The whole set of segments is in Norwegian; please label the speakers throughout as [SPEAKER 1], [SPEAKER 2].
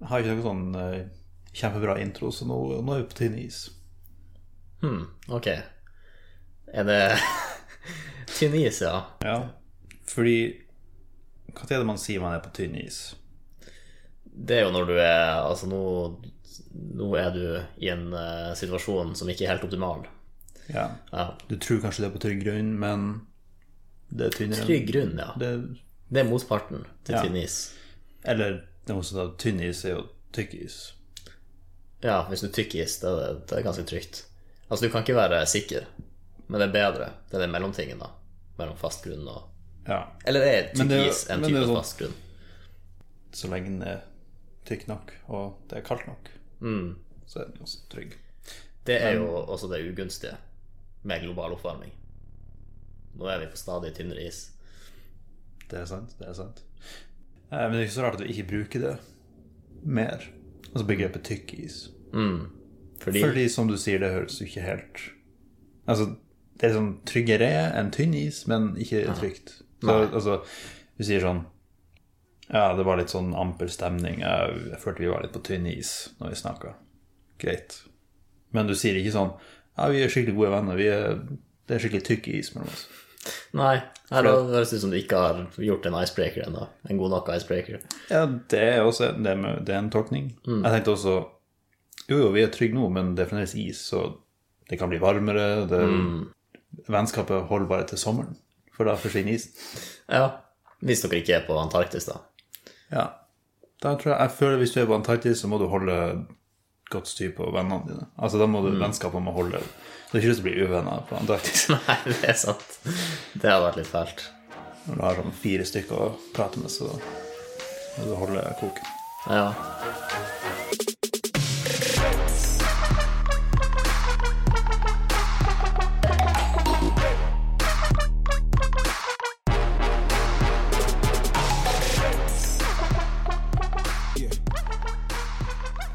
[SPEAKER 1] Jeg har ikke noen sånn eh, kjempebra intro, så nå, nå er vi på tynn is.
[SPEAKER 2] Hmm, ok. Er det tynn is, ja?
[SPEAKER 1] Ja. Fordi Hva er det man sier man er på tynn is?
[SPEAKER 2] Det er jo når du er Altså, nå, nå er du i en eh, situasjon som ikke er helt optimal.
[SPEAKER 1] Ja.
[SPEAKER 2] Ja.
[SPEAKER 1] Du tror kanskje det er på trygg grunn, men det er tynnere. enn-
[SPEAKER 2] Trygg grunn, ja.
[SPEAKER 1] Mm. Det,
[SPEAKER 2] Det er motparten til
[SPEAKER 1] Ja.
[SPEAKER 2] tynn is.
[SPEAKER 1] eller noen som sier tynn is er jo tykk is.
[SPEAKER 2] Ja, hvis du tykker is, det er, det er ganske trygt. Altså, du kan ikke være sikker, men det er bedre. Det er den mellomtingen, da. Mellom fast grunn og
[SPEAKER 1] Ja.
[SPEAKER 2] Eller er
[SPEAKER 1] Men
[SPEAKER 2] tykk
[SPEAKER 1] det er jo-
[SPEAKER 2] is
[SPEAKER 1] men
[SPEAKER 2] en
[SPEAKER 1] det
[SPEAKER 2] type
[SPEAKER 1] er jo sånn-
[SPEAKER 2] fast grunn?
[SPEAKER 1] Så lenge den er tykk nok, og det er kaldt nok,
[SPEAKER 2] Mm.
[SPEAKER 1] så er den også trygg.
[SPEAKER 2] Det er jo også det ugunstige med global oppvarming. Nå er vi på stadig tynnere is.
[SPEAKER 1] Det er sant, det er sant. Eh, Men det er ikke så rart at vi ikke bruker det mer. Altså begrepet tykk is.
[SPEAKER 2] Mm. Fordi,
[SPEAKER 1] Fordi som du sier, det høres jo ikke helt Altså, det er sånn tryggere enn tynn is, men ikke trygt. Så,
[SPEAKER 2] Nei.
[SPEAKER 1] altså, du sier sånn Ja, det var litt sånn amper stemning. Jeg, jeg følte vi var litt på tynn is når vi snakka. Greit. Men du sier ikke sånn Ja, vi er skikkelig gode venner. Vi er, det er skikkelig tykk is mellom oss.
[SPEAKER 2] Nei, her høres det ut som du ikke har gjort en icebreaker ennå. En god nok icebreaker.
[SPEAKER 1] Ja, det er også det er, med- det er en tolkning. Jeg tenkte også Jo, jo, vi er trygge nå, men det er fremdeles is, så det kan bli varmere. Det, Vennskapet holder bare til sommeren, for da forsvinner isen.
[SPEAKER 2] Ja, Hvis dere ikke er på Antarktis, da.
[SPEAKER 1] Ja. Da tror jeg, jeg føler Hvis du er på Antarktis, så må du holde godt styr på vennene dine. Altså, Da må du vennskapet må holde Det er ikke lyst til å bli uvenner på Antarktis
[SPEAKER 2] Nei, det er sant. Det hadde vært litt fælt.
[SPEAKER 1] når du har sånn fire stykker å prate med, så må du holde koken.
[SPEAKER 2] Ja.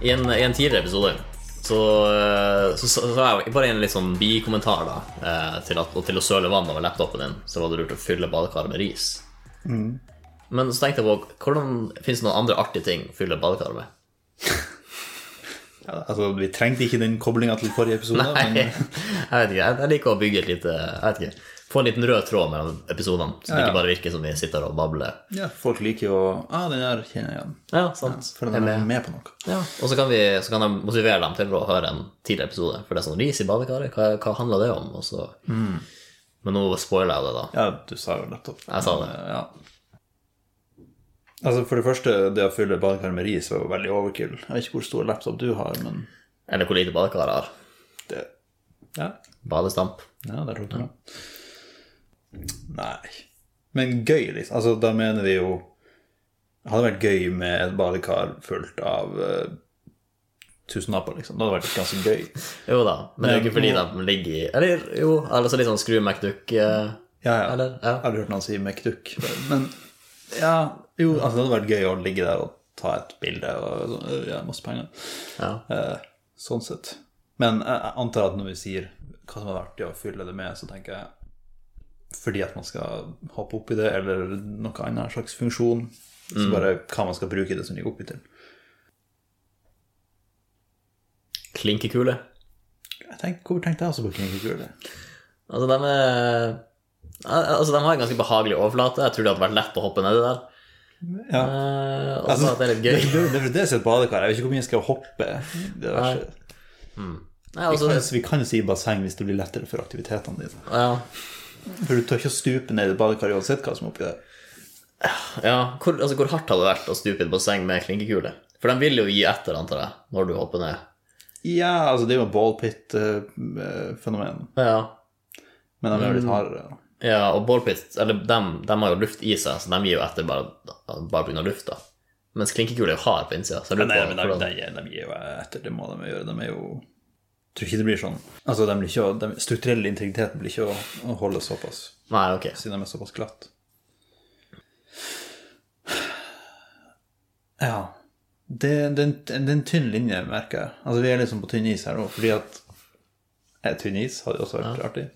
[SPEAKER 2] I en, I en tidligere episode så, eh, så, så, så er jeg bare en litt sånn bikommentar da, eh, til, at, og til å søle vann over laptopen din, så var det lurt å fylle badekaret med ris. Men så tenkte jeg på, hvordan finnes det noen andre artige ting å fylle badekaret med?
[SPEAKER 1] Ja, altså, Vi trengte ikke den koblinga til forrige episode,
[SPEAKER 2] Nei,
[SPEAKER 1] men
[SPEAKER 2] jeg vet ikke. Jeg jeg liker å bygge et lite jeg vet ikke, Få en liten rød tråd mellom episodene, så det
[SPEAKER 1] Ja, ja.
[SPEAKER 2] ikke bare virker som vi sitter og babler.
[SPEAKER 1] ja, folk liker jo å ah, den der kjenner jeg igjen.
[SPEAKER 2] Ja, sant.
[SPEAKER 1] For
[SPEAKER 2] Jeg
[SPEAKER 1] den er
[SPEAKER 2] er med.
[SPEAKER 1] med på noe.
[SPEAKER 2] Ja. Og så kan, vi, så kan jeg motivere dem til å høre en tidligere episode. For det er sånn ris i badekaret, hva, hva handler det om? Og så, Mm. Men nå spoiler jeg det, da.
[SPEAKER 1] Ja, du sa jo nettopp. Eh,
[SPEAKER 2] Jeg sa det.
[SPEAKER 1] Ja. Altså, for det første, det å fylle badekaret med ris var jo veldig overkill. Jeg vet ikke hvor stor laptop du har, men
[SPEAKER 2] Eller hvor lite badekar jeg har.
[SPEAKER 1] det Ja,
[SPEAKER 2] Badestamp.
[SPEAKER 1] ja der tok du den. Nei. Men gøy, liksom. Altså, da mener vi jo Det hadde vært gøy med et badekar fullt av eh, tusen aper, liksom. Det hadde vært ganske gøy.
[SPEAKER 2] Jo da, men det er jo ikke fordi
[SPEAKER 1] Men-
[SPEAKER 2] de ligger i Eller jo, altså litt sånn Screw McDuck. eh,
[SPEAKER 1] Ja, ja.
[SPEAKER 2] Eller? Ja.
[SPEAKER 1] Jeg har aldri hørt noen si McDuck. Men ja, jo, altså, det hadde vært gøy å ligge der og ta et bilde og sånn, «Øh, ja, masse penger.
[SPEAKER 2] Ja.
[SPEAKER 1] Eh, sånn sett. Men jeg jeg antar at når vi sier hva som hadde vært artig å fylle det med, så tenker jeg fordi at man skal hoppe oppi det, eller noe annet slags funksjon. Så bare hva man skal bruke det som ligger oppi til.
[SPEAKER 2] Klinkekule.
[SPEAKER 1] Jeg tenker, hvorfor tenkte jeg også på klinkekule?
[SPEAKER 2] Altså, de er Al- Altså, de har en ganske behagelig overflate. Jeg tror det hadde vært lett å hoppe nedi der.
[SPEAKER 1] Ja.
[SPEAKER 2] Eh, og så
[SPEAKER 1] Altså,
[SPEAKER 2] at det er litt
[SPEAKER 1] Det
[SPEAKER 2] gøy.
[SPEAKER 1] det- det er det som er et badekar. Jeg vet ikke hvor mye jeg skal hoppe. Det er,
[SPEAKER 2] Nei. Nei,
[SPEAKER 1] vi,
[SPEAKER 2] altså,
[SPEAKER 1] kan, vi kan jo si basseng hvis det blir lettere for aktivitetene dine.
[SPEAKER 2] ja.
[SPEAKER 1] For du tør ikke å stupe ned i badekaret uansett hva som er oppi der.
[SPEAKER 2] ja hvor, altså, hvor hardt hadde det vært å stupe i et basseng med klinkekule? For de vil jo gi etter, antar jeg, når du hopper ned.
[SPEAKER 1] Ja, altså det er jo en ballpit-fenomen,
[SPEAKER 2] Ja,
[SPEAKER 1] eh, men de er jo litt hardere. da.
[SPEAKER 2] ja og ballpits Eller dem, dem har jo luft i seg, så de gir jo etter bare, bare pga. lufta. Mens klinkekule er jo hard på innsida. Så jeg
[SPEAKER 1] Nei,
[SPEAKER 2] lurer
[SPEAKER 1] men
[SPEAKER 2] på
[SPEAKER 1] de,
[SPEAKER 2] hvordan
[SPEAKER 1] de, de gir jo etter, det må de jo gjøre. De er jo Jeg tror ikke det blir sånn. Altså, de blir ikke, å- den strukturelle integriteten blir ikke å, å holde såpass,
[SPEAKER 2] Nei, ok.
[SPEAKER 1] siden de er såpass glatt. Ja. Det, det, er en- det er en tynn linje, merker jeg. Altså, vi er liksom på tynn is her nå, fordi at eh, Tynn is hadde jo også vært artig.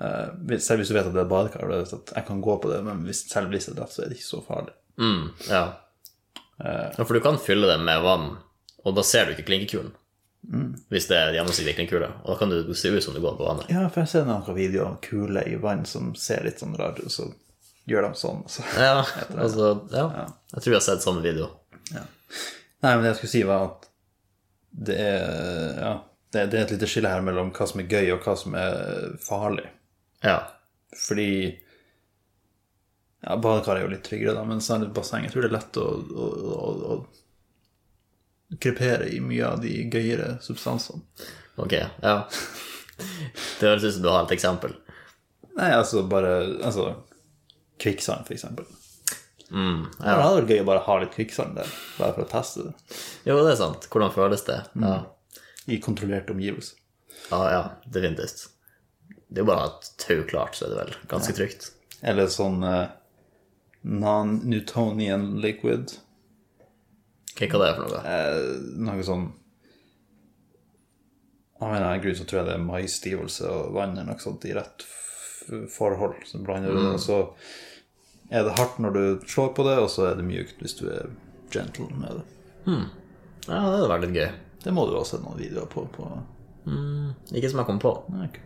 [SPEAKER 1] Eh, hvis- selv hvis du sånn vet at det er badekar, og du vet at jeg kan gå på det, men hvis, selv hvis det er lett, så er det ikke så farlig.
[SPEAKER 2] Mm, ja. Ja, for du kan fylle det med vann, og da ser du ikke klinkekulen. Hvis det er gjennomsiktig klinkekule. Og da kan du se ut som du går på vannet.
[SPEAKER 1] Ja, for jeg ser noen videoer om kuler i vann som ser litt sånn rare ut, så gjør de sånn. Så.
[SPEAKER 2] Ja, altså, ja. Jeg tror jeg har sett samme video.
[SPEAKER 1] Nei, men det jeg skulle si, var at det er Ja, det, det er et lite skille her mellom hva som er gøy, og hva som er farlig.
[SPEAKER 2] Ja.
[SPEAKER 1] Fordi ja, badekar er jo litt tryggere, da, men sånn et basseng Jeg tror det er lett å, å, å, å krepere i mye av de gøyere substansene.
[SPEAKER 2] Ok, ja. Det høres ut som du har et eksempel.
[SPEAKER 1] Nei, altså bare Altså kvikksand, for eksempel. Det hadde vært gøy å bare ha litt kvikksand der, bare for å teste det.
[SPEAKER 2] Jo, det er sant. Hvordan føles det? Ja,
[SPEAKER 1] I kontrollerte omgivelser.
[SPEAKER 2] ja, ja definitivt. Det er jo bare å ha et tau klart, så er det vel ganske trygt.
[SPEAKER 1] Eller sånn eh, non-Newtonian liquid.
[SPEAKER 2] Ok, Hva er det for noe?
[SPEAKER 1] noe sånn Av en eller annen grunn så tror jeg det er maisstivelse og vann eller noe sånt i rett f- forhold. Så blander du det, og så er det hardt når du slår på det, og så er det mjukt hvis du er gentle med det.
[SPEAKER 2] Ja, det hadde vært litt gøy. Mm,
[SPEAKER 1] Det må du også se noen videoer på. på.
[SPEAKER 2] Ikke som jeg kom på.
[SPEAKER 1] Nei, ok.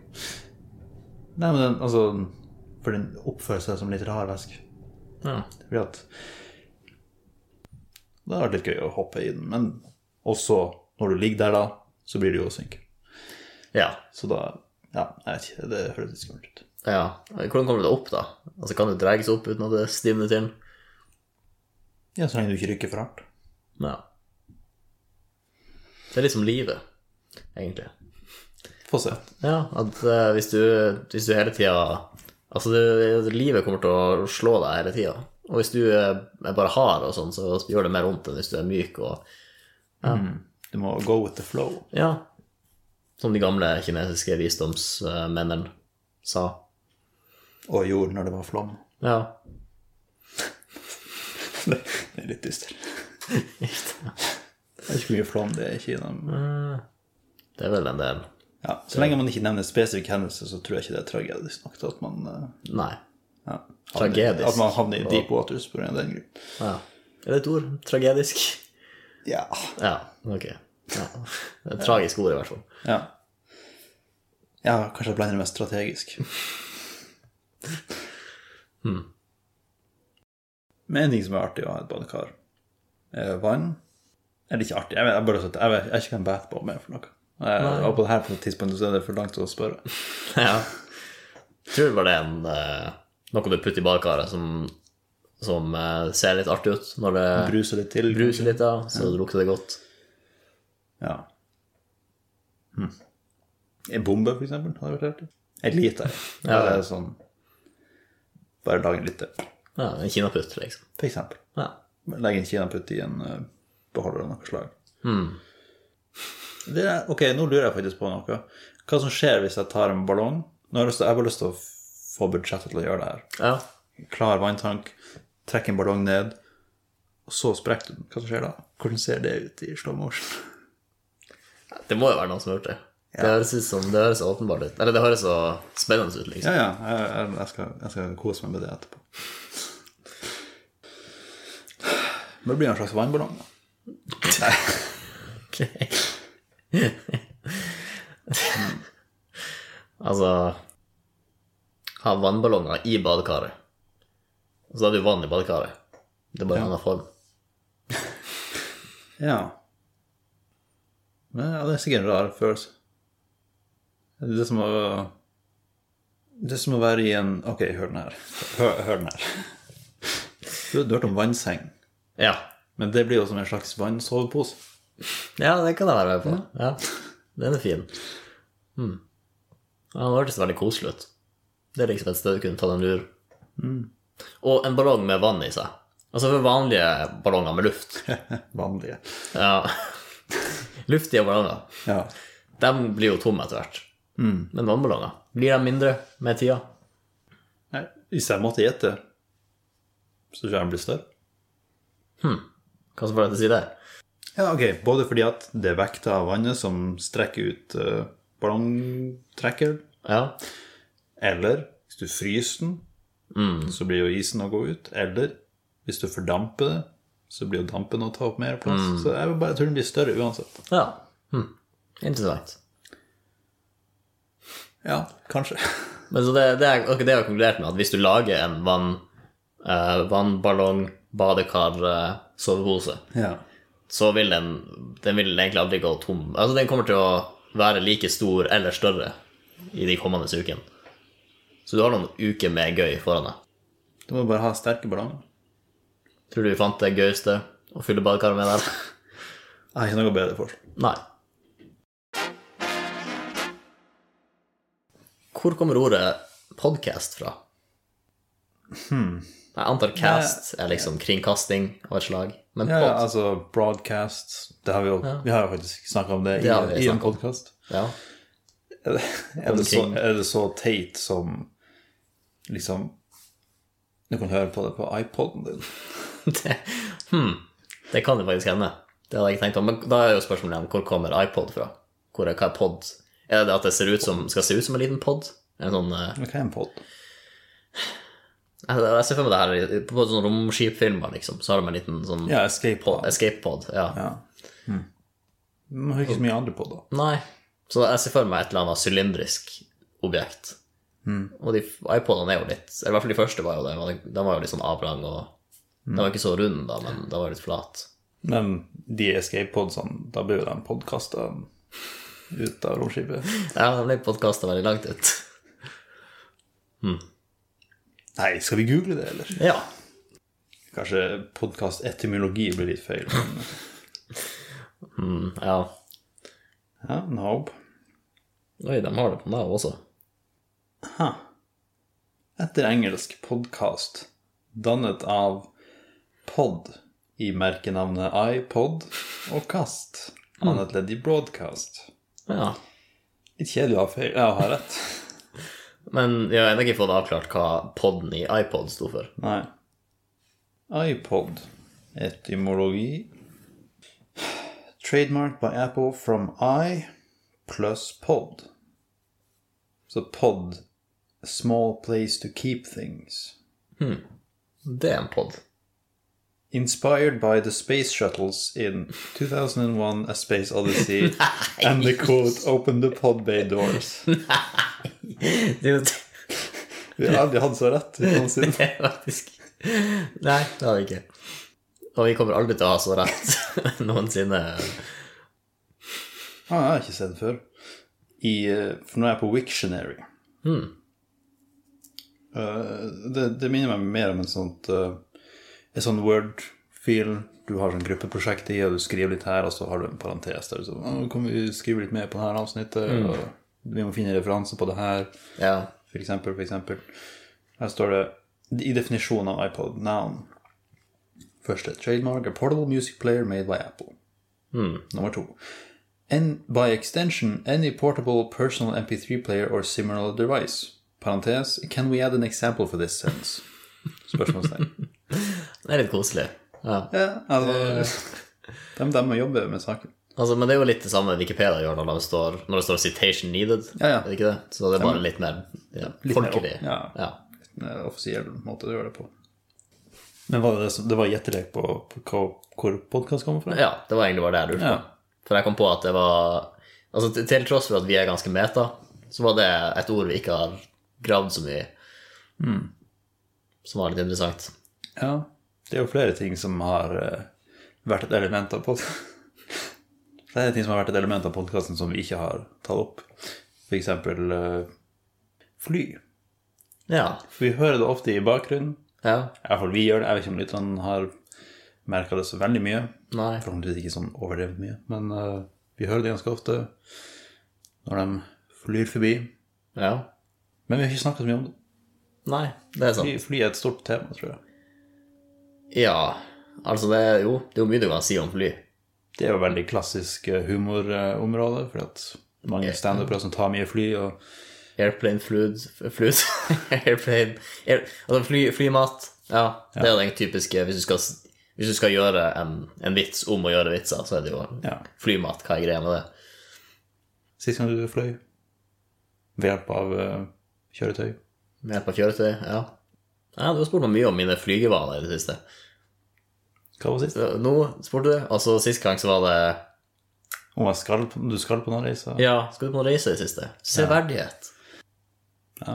[SPEAKER 1] Nei, men den, altså For den oppfører seg som litt rar væske.
[SPEAKER 2] Ja.
[SPEAKER 1] Fordi at Det har vært litt gøy å hoppe i den, men også når du ligger der, da, så blir du jo å synke.
[SPEAKER 2] ja.
[SPEAKER 1] Så da Ja, jeg vet ikke. Det høres litt skummelt ut.
[SPEAKER 2] Ja. Hvordan kommer du deg opp, da? Altså, Kan du dra seg opp uten at det stivner til?
[SPEAKER 1] Ja, så lenge du ikke rykker for hardt.
[SPEAKER 2] Ja. Det er litt som livet, egentlig.
[SPEAKER 1] Få se.
[SPEAKER 2] Ja, at eh, hvis, du, hvis du hele tida Altså, det, livet kommer til å slå deg hele tida. Og hvis du er, er bare hard og sånn, så gjør det mer vondt enn hvis du er myk og
[SPEAKER 1] Du må go with the flow.
[SPEAKER 2] Ja. Som de gamle kinesiske visdomsmennene sa.
[SPEAKER 1] Og gjorde når det var flom.
[SPEAKER 2] Ja.
[SPEAKER 1] det er litt dyster. Jeg vet ikke hvor mye flom det er i Kina. men-
[SPEAKER 2] Det er vel en del.
[SPEAKER 1] Ja, så lenge man ikke nevner spesifikke hendelser, så tror jeg ikke det er tragedisk nok til at man eh,
[SPEAKER 2] Nei.
[SPEAKER 1] ja,
[SPEAKER 2] Tragedisk.
[SPEAKER 1] At man havner i deep waters på grunn av den grunn.
[SPEAKER 2] Ja. Er det et ord? Tragedisk?
[SPEAKER 1] Ja.
[SPEAKER 2] Ja, ok. Ja. Det er et tragisk ord, i hvert fall.
[SPEAKER 1] ja. Ja, kanskje jeg blander det mest strategisk. Men en ting som er artig å ha i et badekar, er vann. Eller ikke artig, jeg vet, jeg bare, jeg vet jeg vet ikke hva en bathbomb er for noe. Jeg, og på det her tidspunktet så er det for langt å spørre.
[SPEAKER 2] Ja. Jeg tror det var det en, eh, noe du putter i badekaret som, som eh, ser litt artig ut når det
[SPEAKER 1] Bruse litt til.
[SPEAKER 2] bruser litt, ja, så lukter det godt.
[SPEAKER 1] Ja. Hm. En bombe, for eksempel, hadde vært artig. En liter. Ja, det er sånn Bare lag en liter,
[SPEAKER 2] Ja, En kinaputt, liksom.
[SPEAKER 1] for eksempel.
[SPEAKER 2] Ja.
[SPEAKER 1] Legg en kinaputt i en eh, beholder av noe slag. Hmm. Det er, ok, nå lurer jeg faktisk på noe. Hva som skjer hvis jeg tar en ballong? Nå har jeg, lyst til, jeg har bare lyst til å få budsjettet til å gjøre det her.
[SPEAKER 2] ja.
[SPEAKER 1] Klar vanntank, trekk en ballong ned, og så sprekker du den. Hva som skjer da? Hvordan ser det ut i slow motion?
[SPEAKER 2] Det må jo være noen som har gjort det. Det høres ut som, det høres så åpenbart ut. Eller det høres så spennende ut, liksom.
[SPEAKER 1] Ja, ja. Jeg, jeg, jeg, skal, jeg skal kose meg med det etterpå. Men det blir en slags vannballong. da.
[SPEAKER 2] Ok. altså Ha vannballonger i badekaret. Så da er det jo vann i badekaret. Det er bare en annen form.
[SPEAKER 1] Ja. Men ja, det er sikkert en rar følelse. Det er som å Det er som å være i en Ok, hør den her. Hør, hør den her. Du har hørt om vannseng,
[SPEAKER 2] Ja.
[SPEAKER 1] men det blir jo som en slags vannsovepose.
[SPEAKER 2] Ja, det kan jeg være med på. Ja. Den er fin. Hmm. Ja, den hørtes veldig koselig ut. Det er liksom et sted du kunne ta deg en lur. Og en ballong med vann i seg. Altså for vanlige ballonger med luft.
[SPEAKER 1] Vanlige.
[SPEAKER 2] Ja. Luftige ballonger.
[SPEAKER 1] Ja.
[SPEAKER 2] De blir jo tomme etter hvert. Men vannballonger, blir de mindre med tida?
[SPEAKER 1] Nei, hvis jeg måtte gjette, så tror jeg den blir større.
[SPEAKER 2] Hva som får deg til å si det?
[SPEAKER 1] Ja, ok. Både fordi at det er vekta av vannet som strekker ut eh, ballongtrekkeren,
[SPEAKER 2] Ja.
[SPEAKER 1] eller hvis du
[SPEAKER 2] Mm.
[SPEAKER 1] fryser den, så blir jo isen å gå ut, eller hvis du fordamper det, så blir jo dampen å ta opp mer plass.
[SPEAKER 2] Mm.
[SPEAKER 1] Så jeg vil bare tror den blir større uansett.
[SPEAKER 2] Ja. Hm. Interessant.
[SPEAKER 1] Ja, kanskje.
[SPEAKER 2] Men så det, det, er, ok, det har jeg konkludert med at hvis du lager en vann, eh, vannballong, badekar, eh, sovepose,
[SPEAKER 1] ja.
[SPEAKER 2] så vil den, den vil egentlig aldri gå tom. Altså Den kommer til å være like stor eller større i de kommende ukene. Så du har noen uker med gøy foran deg.
[SPEAKER 1] Du må bare ha sterke ballonger.
[SPEAKER 2] Tror du vi fant det gøyeste å fylle badekaret med der?
[SPEAKER 1] Jeg har ikke noe bedre forslag.
[SPEAKER 2] Nei. Hvor kommer ordet podcast fra?
[SPEAKER 1] Hmm.
[SPEAKER 2] Jeg antar cast er liksom kringkasting av et slag, men
[SPEAKER 1] Ja,
[SPEAKER 2] pod
[SPEAKER 1] ja, altså broadcast Det har vi jo Vi har jo faktisk snakka om det i,
[SPEAKER 2] Det har vi
[SPEAKER 1] i en
[SPEAKER 2] snakket om.
[SPEAKER 1] podkast.
[SPEAKER 2] ja.
[SPEAKER 1] Er, det så- er det så teit som liksom Du kan høre på det på iPoden din.
[SPEAKER 2] det, hmm, det kan det faktisk hende. Det hadde jeg ikke tenkt om. Men da er jo spørsmålet igjen, hvor kommer iPod fra? Hvor er, hva er pod? Er det at det ser ut som, skal se ut som en liten pod? En sånn, eh,
[SPEAKER 1] Hva er en pod?
[SPEAKER 2] jeg jeg ser for meg det her i- på sånne romskipfilmer, liksom. Så har de en liten sånn
[SPEAKER 1] Ja, escape pod.
[SPEAKER 2] escape pod. Ja.
[SPEAKER 1] Man har ikke så mye andre pod, da.
[SPEAKER 2] Nei. Så jeg ser for meg et eller annet sylindrisk objekt. Og de iPodene er jo litt eller I hvert fall de første var jo det. men De var jo litt sånn avlang og De var ikke så runde, da, men de var litt flate.
[SPEAKER 1] Men de escape podsene, da blir jo de podkasta ut av romskipet.
[SPEAKER 2] Ja, de ble podkasta veldig langt ut.
[SPEAKER 1] Nei, skal vi google det, eller?
[SPEAKER 2] Ja.
[SPEAKER 1] Kanskje podkast-etymologi blir litt feil. men-
[SPEAKER 2] Mm, ja.
[SPEAKER 1] Ja, en håp.
[SPEAKER 2] Oi, de har det på Nav også.
[SPEAKER 1] Etter engelsk podkast, dannet av pod i merkenavnet iPod og kast, annet ledd i broadcast.
[SPEAKER 2] Ja.
[SPEAKER 1] Litt kjedelig å ha feil. Ja, å ha rett.
[SPEAKER 2] Men vi har ennå ikke fått avklart hva poden i iPod sto for.
[SPEAKER 1] Nei. iPod. Etymologi. Trademarked by Apple from i plus pod. Så pod a small place to keep things.
[SPEAKER 2] Det er en pod.
[SPEAKER 1] Inspired by the space shuttles in 2001 A Space Odyssey and the quote Open the pod bay doors.
[SPEAKER 2] Det er jo-
[SPEAKER 1] Vi har aldri hatt så rett noensinne.
[SPEAKER 2] Det er faktisk Nei, det har vi ikke. Og vi kommer aldri til å ha så rett noensinne.
[SPEAKER 1] Ah, jeg har ikke sett den før. I, eh, for nå er jeg på Wiktionary. Eh, det, det minner meg mer om en sånt eh, En sånn Word-fil. Du har sånn gruppeprosjekt i, og du skriver litt her, og så har du en parentes der. Så, «Å, kan vi skrive litt mer på dette avsnittet? Og vi må finne referanse på det her,
[SPEAKER 2] Ja.
[SPEAKER 1] for eksempel, for eksempel. Her står det i definisjonen av iPod noun. Første trademark, a portable music player made by Apple. Nummer to. And by extension, any portable personal MP3 player or similar device. Parentes, can we add an example for this sentence? Spørsmålstegn.
[SPEAKER 2] Det er litt koselig. Ja.
[SPEAKER 1] ja, altså dem, dem må jobbe med saken.
[SPEAKER 2] Altså, men det er jo litt det samme Wikipedia gjør når det står, når det står 'citation needed'.
[SPEAKER 1] Ja, ja.
[SPEAKER 2] Er det ikke det? Så det er bare litt mer ja,
[SPEAKER 1] Litt mer
[SPEAKER 2] folkelig.
[SPEAKER 1] opp- ja.
[SPEAKER 2] Ja.
[SPEAKER 1] Det er en Offisiell måte å gjøre det på. Men var det, det, som, det var gjettelek på, på hva, hvor podkast kommer fra?
[SPEAKER 2] Ja, det var egentlig bare det jeg lurte på.
[SPEAKER 1] Ja.
[SPEAKER 2] For jeg kom på at det var Altså til- Til tross for at vi er ganske meta, så var det et ord vi ikke har gravd så mye i.
[SPEAKER 1] Mm.
[SPEAKER 2] Som var litt interessant.
[SPEAKER 1] Ja. Det er jo flere ting som har eh, vært et element av podkasten. Det er ting som har vært et element av podkasten som vi ikke har tatt opp. F.eks. Uh, fly.
[SPEAKER 2] Ja.
[SPEAKER 1] Vi hører det ofte i bakgrunnen.
[SPEAKER 2] ja.
[SPEAKER 1] I hvert fall vi gjør det. Jeg vet ikke om lytterne har merka det så veldig mye.
[SPEAKER 2] Nei.
[SPEAKER 1] Forhåpentligvis ikke sånn overdrevet mye, men eh, vi hører det ganske ofte når de flyr forbi.
[SPEAKER 2] Ja.
[SPEAKER 1] Men vi har ikke snakka så mye om det.
[SPEAKER 2] Nei, det er sant.
[SPEAKER 1] Fly, fly er et stort tema, tror jeg.
[SPEAKER 2] Ja. Altså, det er jo, det er jo mye du kan si om fly.
[SPEAKER 1] Det er jo veldig klassisk eh, humorområde, for at mange standupere som tar mye fly og
[SPEAKER 2] Airplane fluid Fluid? Airplane air, Altså fly, flymat. Ja, det er jo den typiske Hvis du skal, hvis du skal gjøre en, en vits om å gjøre vitser, så er det jo
[SPEAKER 1] Ja.
[SPEAKER 2] flymat. Hva er greia med det?
[SPEAKER 1] Sist gang du fløy ved hjelp av eh, kjøretøy.
[SPEAKER 2] Med hjelp av kjøretøy? Ja. ja. Du har spurt meg mye om mine flygevaner i det siste.
[SPEAKER 1] Hva var sist?
[SPEAKER 2] Så Nå spurte du. Altså, sist gang så var det
[SPEAKER 1] Om jeg skal, på- du skal på noen reise?
[SPEAKER 2] Ja, skal du på en reise i det siste? Severdighet.
[SPEAKER 1] Ja.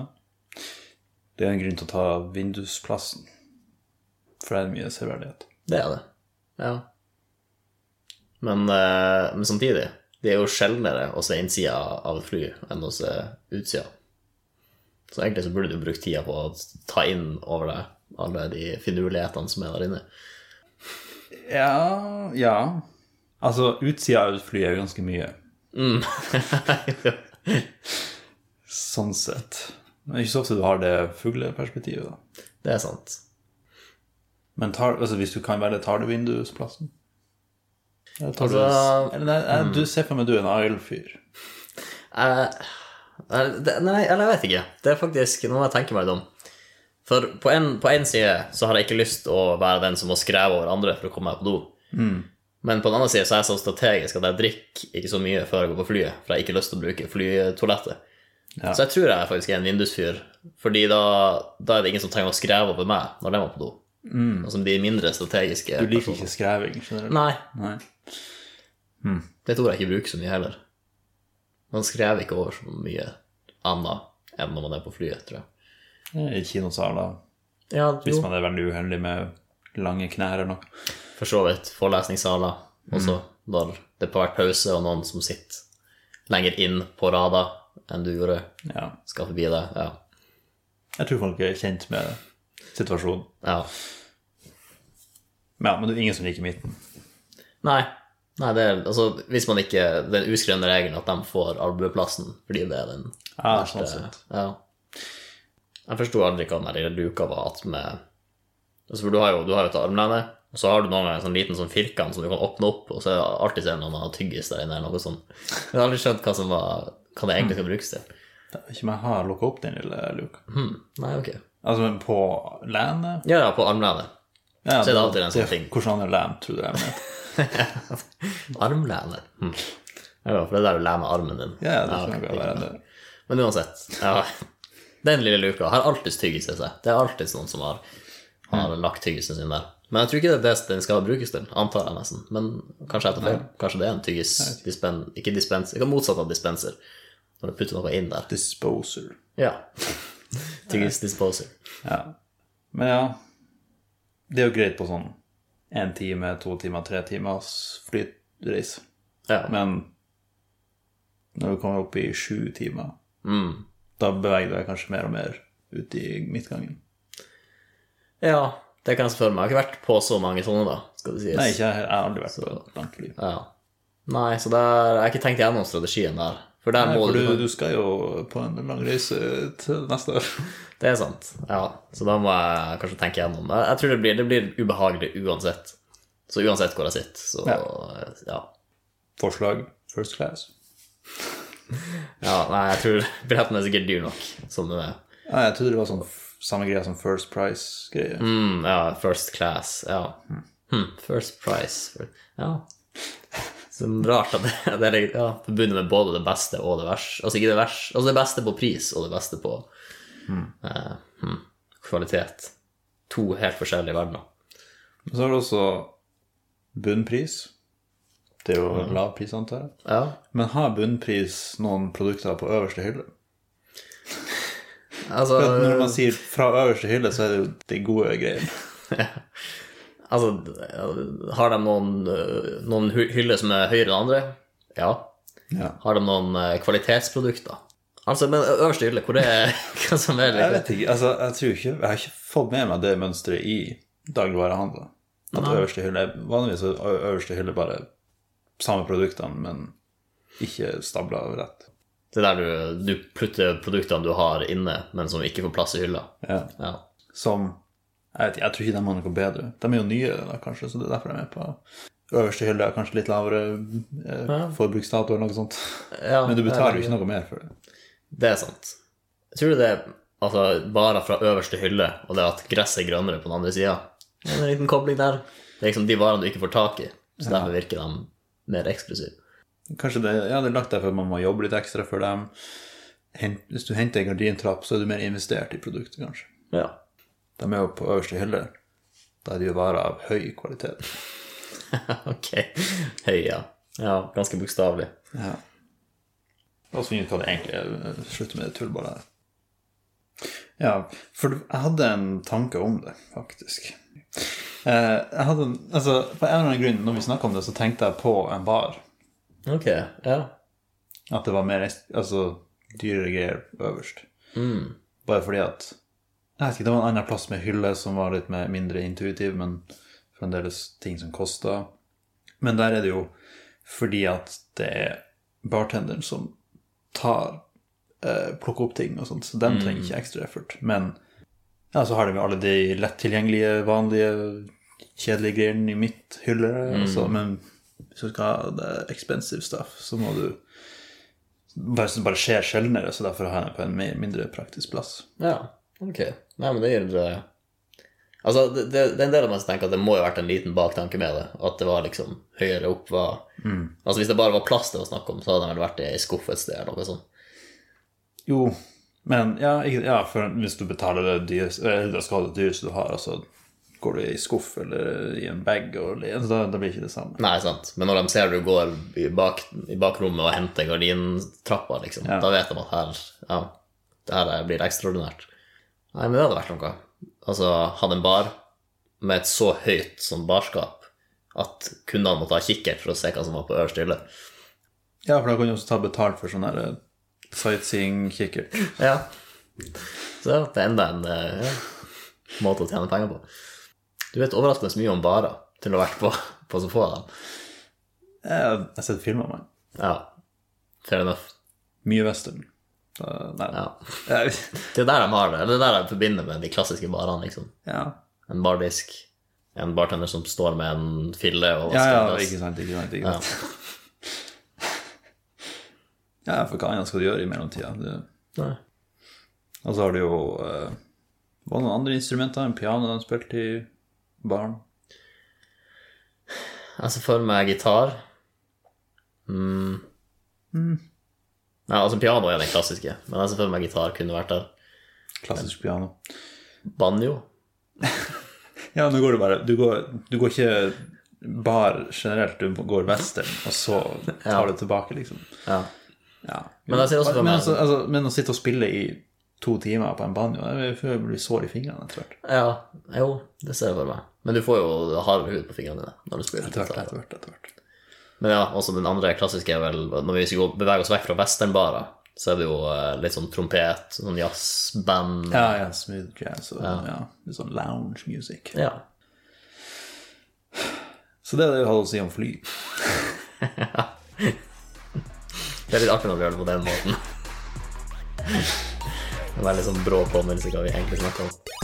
[SPEAKER 1] Det er en grunn til å ta vindusplassen. For det er mye severdighet.
[SPEAKER 2] Det er det. Ja. Men, eh, men samtidig, det er jo sjeldnere å se innsida av et fly enn å se utsida. Så egentlig så burde du bruke tida på å ta inn over deg alle de finurlighetene som er der inne.
[SPEAKER 1] Ja, ja. Altså, utsida av et fly er jo ganske mye, sånn sett. Men ikke så ofte du har det fugleperspektivet, da.
[SPEAKER 2] det er sant.
[SPEAKER 1] Men tar, altså, hvis du kan velge, tar du vindusplassen? Eller tar du,
[SPEAKER 2] Altså,
[SPEAKER 1] eller, nei, nei, du ser for meg du er en Isle-fyr.
[SPEAKER 2] Eh, eh, det- Nei, eller jeg vet ikke. Det er faktisk noe jeg tenker meg litt om. For på en, på en side så har jeg ikke lyst til å være den som må skreve over andre for å komme meg på do.
[SPEAKER 1] Mm.
[SPEAKER 2] Men på den andre side så er jeg så strategisk at jeg drikker ikke så mye før jeg går på flyet, for jeg har ikke lyst til å bruke flytoalettet.
[SPEAKER 1] Ja.
[SPEAKER 2] Så jeg tror jeg faktisk er en vindusfyr, fordi da, da er det ingen som trenger å skreve over meg når de må på do. Altså de mindre strategiske.
[SPEAKER 1] Mm. Du liker ikke skreving generelt.
[SPEAKER 2] sånn. Nei,
[SPEAKER 1] Nei.
[SPEAKER 2] det tror jeg ikke bruker så mye heller. Man skrev ikke over så mye annet enn når man er på flyet, tror jeg.
[SPEAKER 1] I kinosaler,
[SPEAKER 2] Ja,
[SPEAKER 1] hvis
[SPEAKER 2] jo.
[SPEAKER 1] man er veldig uheldig med lange knær eller noe.
[SPEAKER 2] For så vidt. Forelesningssaler også, når det har vært pause, og noen som sitter lenger inn på rada enn du gjorde,
[SPEAKER 1] Ja.
[SPEAKER 2] skal forbi deg. Ja.
[SPEAKER 1] Jeg tror folk er kjent med situasjonen.
[SPEAKER 2] ja.
[SPEAKER 1] Men, ja, men det er ingen som liker midten.
[SPEAKER 2] Nei. Nei, det er altså Hvis man ikke Den uskrevne regelen at de får albueplassen fordi det er den
[SPEAKER 1] Ja, sånn
[SPEAKER 2] eh,
[SPEAKER 1] sett.
[SPEAKER 2] Ja. Jeg forsto aldri hva den der lille luka var at med altså, For du har jo, du har jo et armlene, og så har du noen ganger en sånn liten sånn firkant som du kan åpne opp, og så er det alltid så er det noen som har tyggis der inne, eller noe sånt. Jeg har aldri skjønt hva som var Hva det egentlig skal brukes til.
[SPEAKER 1] Det er ikke om jeg har lukka opp den lille luka.
[SPEAKER 2] Hmm. Nei, ok.
[SPEAKER 1] Altså, men på landet
[SPEAKER 2] Ja, ja, på armlenet.
[SPEAKER 1] ja,
[SPEAKER 2] Så er det alltid en sånn ting.
[SPEAKER 1] Hvordan andre land tror du det er med?
[SPEAKER 2] Armlene. Hmm. Ja, for det er der du lener armen din.
[SPEAKER 1] Ja, det
[SPEAKER 2] ok,
[SPEAKER 1] kan jo være det.
[SPEAKER 2] Men uansett. Ja. Den lille luka har alltid tyggis i seg. Det er alltid noen som har,
[SPEAKER 1] Mm.
[SPEAKER 2] har lagt tyggisen sin der. Men jeg tror ikke det er det den skal brukes til, antar jeg nesten. Men kanskje jeg tar feil. Kanskje det er en tyggis dispen, Ikke dispenser, ikke motsatt av dispenser. Når du putter noe inn der.
[SPEAKER 1] Disposer.
[SPEAKER 2] Ja. Tyggis disposer.
[SPEAKER 1] Ja. Men ja, det er jo greit på sånn én time, to timer, tre timers flyreise.
[SPEAKER 2] Ja.
[SPEAKER 1] Men når du kommer opp i sju timer,
[SPEAKER 2] Mm.
[SPEAKER 1] da beveger du deg kanskje mer og mer ut i midtgangen.
[SPEAKER 2] ja, det kan jeg se for meg. Jeg har ikke vært på så mange sånne, da, skal det sies.
[SPEAKER 1] Nei, ikke, jeg jeg har aldri vært på et langt fly.
[SPEAKER 2] Ja. Nei, så der, jeg har ikke tenkt gjennom strategien der. For der
[SPEAKER 1] Nei,
[SPEAKER 2] må
[SPEAKER 1] for
[SPEAKER 2] du
[SPEAKER 1] du, du skal jo på en lang reise til neste år.
[SPEAKER 2] Det er sant. Ja, så da må jeg kanskje tenke gjennom. Jeg, jeg tror det blir, det blir ubehagelig uansett. Så uansett hvor jeg sitter, så ja. ja.
[SPEAKER 1] Forslag first class.
[SPEAKER 2] nei, jeg tror billetten er sikkert dyr nok. Som den er.
[SPEAKER 1] Nei, jeg trodde det var sånn f- samme greia som first price-greie.
[SPEAKER 2] Mm, ja, first class. Ja. Hm, first price. Ja. Så rart at det, det er litt- ja, forbundet med både det beste og det verste. Altså ikke det verste, altså det beste på pris og det beste på eh, hm, kvalitet. To helt forskjellige verdener.
[SPEAKER 1] Men så er det også bunnpris. Det er jo lav pris, antar jeg.
[SPEAKER 2] Ja.
[SPEAKER 1] Men har bunnpris noen produkter på øverste hylle?
[SPEAKER 2] Altså,
[SPEAKER 1] For at Når man sier fra øverste hylle, så er det jo de gode greiene.
[SPEAKER 2] Altså, har de noen, øh, noen hy- hyller som er høyere enn andre? Ja.
[SPEAKER 1] Ja.
[SPEAKER 2] Har de noen øh, kvalitetsprodukter? Altså, men ø- øverste hylle, hvor er hva som er
[SPEAKER 1] Jeg
[SPEAKER 2] liksom?
[SPEAKER 1] vet ikke, altså, jeg tror ikke Jeg har ikke fått med meg det mønsteret i dagligvarehandelen. At øverste hylle Vanligvis er ø- øverste hylle bare samme produktene, men ikke stabla rett.
[SPEAKER 2] Det er der du, du putter produktene du har inne, men som ikke får plass i hylla.
[SPEAKER 1] Ja.
[SPEAKER 2] Ja.
[SPEAKER 1] Som jeg, vet, ikke, jeg tror ikke de har noe bedre. De er jo nye, da, kanskje, så det er derfor de er på øverste hylle. er Kanskje litt lavere eh, forbruksdato eller noe sånt.
[SPEAKER 2] Ja,
[SPEAKER 1] Men du betaler jo ikke noe mer for det.
[SPEAKER 2] Det er sant. Tror du det er altså, bare fra øverste hylle, og det at gresset er grønnere på den andre sida? Det er en liten kobling der. Det er liksom de varene du ikke får tak i, så derfor virker de mer eksklusive.
[SPEAKER 1] Kanskje det, ja, det er lagt der for at man må jobbe litt ekstra for dem. Hent, hvis du henter en gardintrapp, så er du mer investert i produktet, kanskje.
[SPEAKER 2] Ja.
[SPEAKER 1] De er jo på øverste hylle. der det er varer av høy kvalitet.
[SPEAKER 2] ok. Heia. Ja, ganske bokstavelig.
[SPEAKER 1] Ja. La oss finne ut hva det egentlig er. Slutte med det tullballet her. Ja, for jeg hadde en tanke om det, faktisk. Eh, Jeg hadde, en- altså, på en eller annen grunn, når vi snakka om det, så tenkte jeg på en bar.
[SPEAKER 2] Ok, ja.
[SPEAKER 1] At det var mer altså, dyrere greier øverst. Bare fordi at Jeg vet ikke, det var en annen plass med hylle som var litt mer, mindre intuitiv, men fremdeles ting som kosta. Men der er det jo fordi at det er bartenderen som tar eh, plukker opp ting og sånt, så den trenger ikke ekstra effort. Men ja, så har de jo alle de lett tilgjengelige, vanlige, kjedelige greiene i mitt hylle. Altså, men hvis du skal ha det expensive stuff, så må du bare, så det bare skjer sjeldnere, så derfor har jeg den på en mer, mindre praktisk plass.
[SPEAKER 2] Ja, ok. Nei, men det gir eh, Altså, det, det, det er en del av meg som tenker at det må jo ha vært en liten baktanke med det. At det var liksom høyere opp var Altså, hvis det bare var plass det var snakk om, så hadde den vel vært i ei skuff et sted eller noe sånt.
[SPEAKER 1] Jo, men ja, ikke, ja for hvis du betaler det dyreste, eller da skal ha det dyreste du har, og så går du i skuff eller i en bag, og, så da, da blir det ikke det samme.
[SPEAKER 2] Nei, sant. Men når de ser du går i, bak, i bakrommet og henter gardintrappa, liksom, da vet de at her Ja, det her blir ekstraordinært. Nei, men det hadde vært noe. Altså, hadde en bar med et så høyt sånn barskap at kundene måtte ha kikkert for å se hva som var på øverste hylle.
[SPEAKER 1] Ja, for da kan du også ta betalt for sånn der sightseeing-kikkert.
[SPEAKER 2] Ja. Så ja, det er enda en eh, ja, måte å tjene penger på. Du vet overraskende mye om barer til å ha vært på, på så få av dem.
[SPEAKER 1] Jeg jeg har sett filmer, mann.
[SPEAKER 2] Ja, fair enough.
[SPEAKER 1] Mye western. Da, nei.
[SPEAKER 2] Ja.
[SPEAKER 1] Ja.
[SPEAKER 2] Det er der de har det. Det er der de forbinder med de klassiske barene, liksom.
[SPEAKER 1] ja.
[SPEAKER 2] En bardisk, en bartender som står med en fille og
[SPEAKER 1] Ja, ja,
[SPEAKER 2] vasker glass.
[SPEAKER 1] ikke sant, ikke sant, ikke
[SPEAKER 2] Ja.
[SPEAKER 1] sant. Ja, for hva annet skal du gjøre i mellomtida? Du-
[SPEAKER 2] Nei.
[SPEAKER 1] Og så har du jo eh, Var det noen andre instrumenter enn piano de spilte i baren?
[SPEAKER 2] Jeg ser for meg gitar. Mm. Nei, altså piano er den klassiske, men jeg ser for meg gitar kunne vært der.
[SPEAKER 1] Klassisk piano.
[SPEAKER 2] Banjo.
[SPEAKER 1] Ja, nå går du bare Du går, du går ikke bar generelt, du går western, og så tar
[SPEAKER 2] Ja.
[SPEAKER 1] du tilbake, liksom.
[SPEAKER 2] Ja.
[SPEAKER 1] Ja.
[SPEAKER 2] Men jeg ser også for
[SPEAKER 1] men,
[SPEAKER 2] meg-
[SPEAKER 1] altså, altså, men å sitte og spille i to timer på en banjo, jeg føler jeg blir sår i fingrene etter hvert.
[SPEAKER 2] Ja, jo, det ser jeg for meg. Men du får jo hardere hud på fingrene dine når du spiller.
[SPEAKER 1] Etter hvert,
[SPEAKER 2] gitar.
[SPEAKER 1] etter hvert, etter hvert.
[SPEAKER 2] Men ja, også den andre klassiske er vel Når vi skal gå- bevege oss vekk fra westernbarer, så er det jo eh, litt sånn trompet, sånn jazzband
[SPEAKER 1] Ja, ja, smooth jazz og ja. litt sånn lounge music.
[SPEAKER 2] ja.
[SPEAKER 1] Så det er det vi hadde å si om fly.
[SPEAKER 2] Det er litt artig når vi gjør det på den måten. Det er veldig sånn brå påminnelse hva vi egentlig snakker om.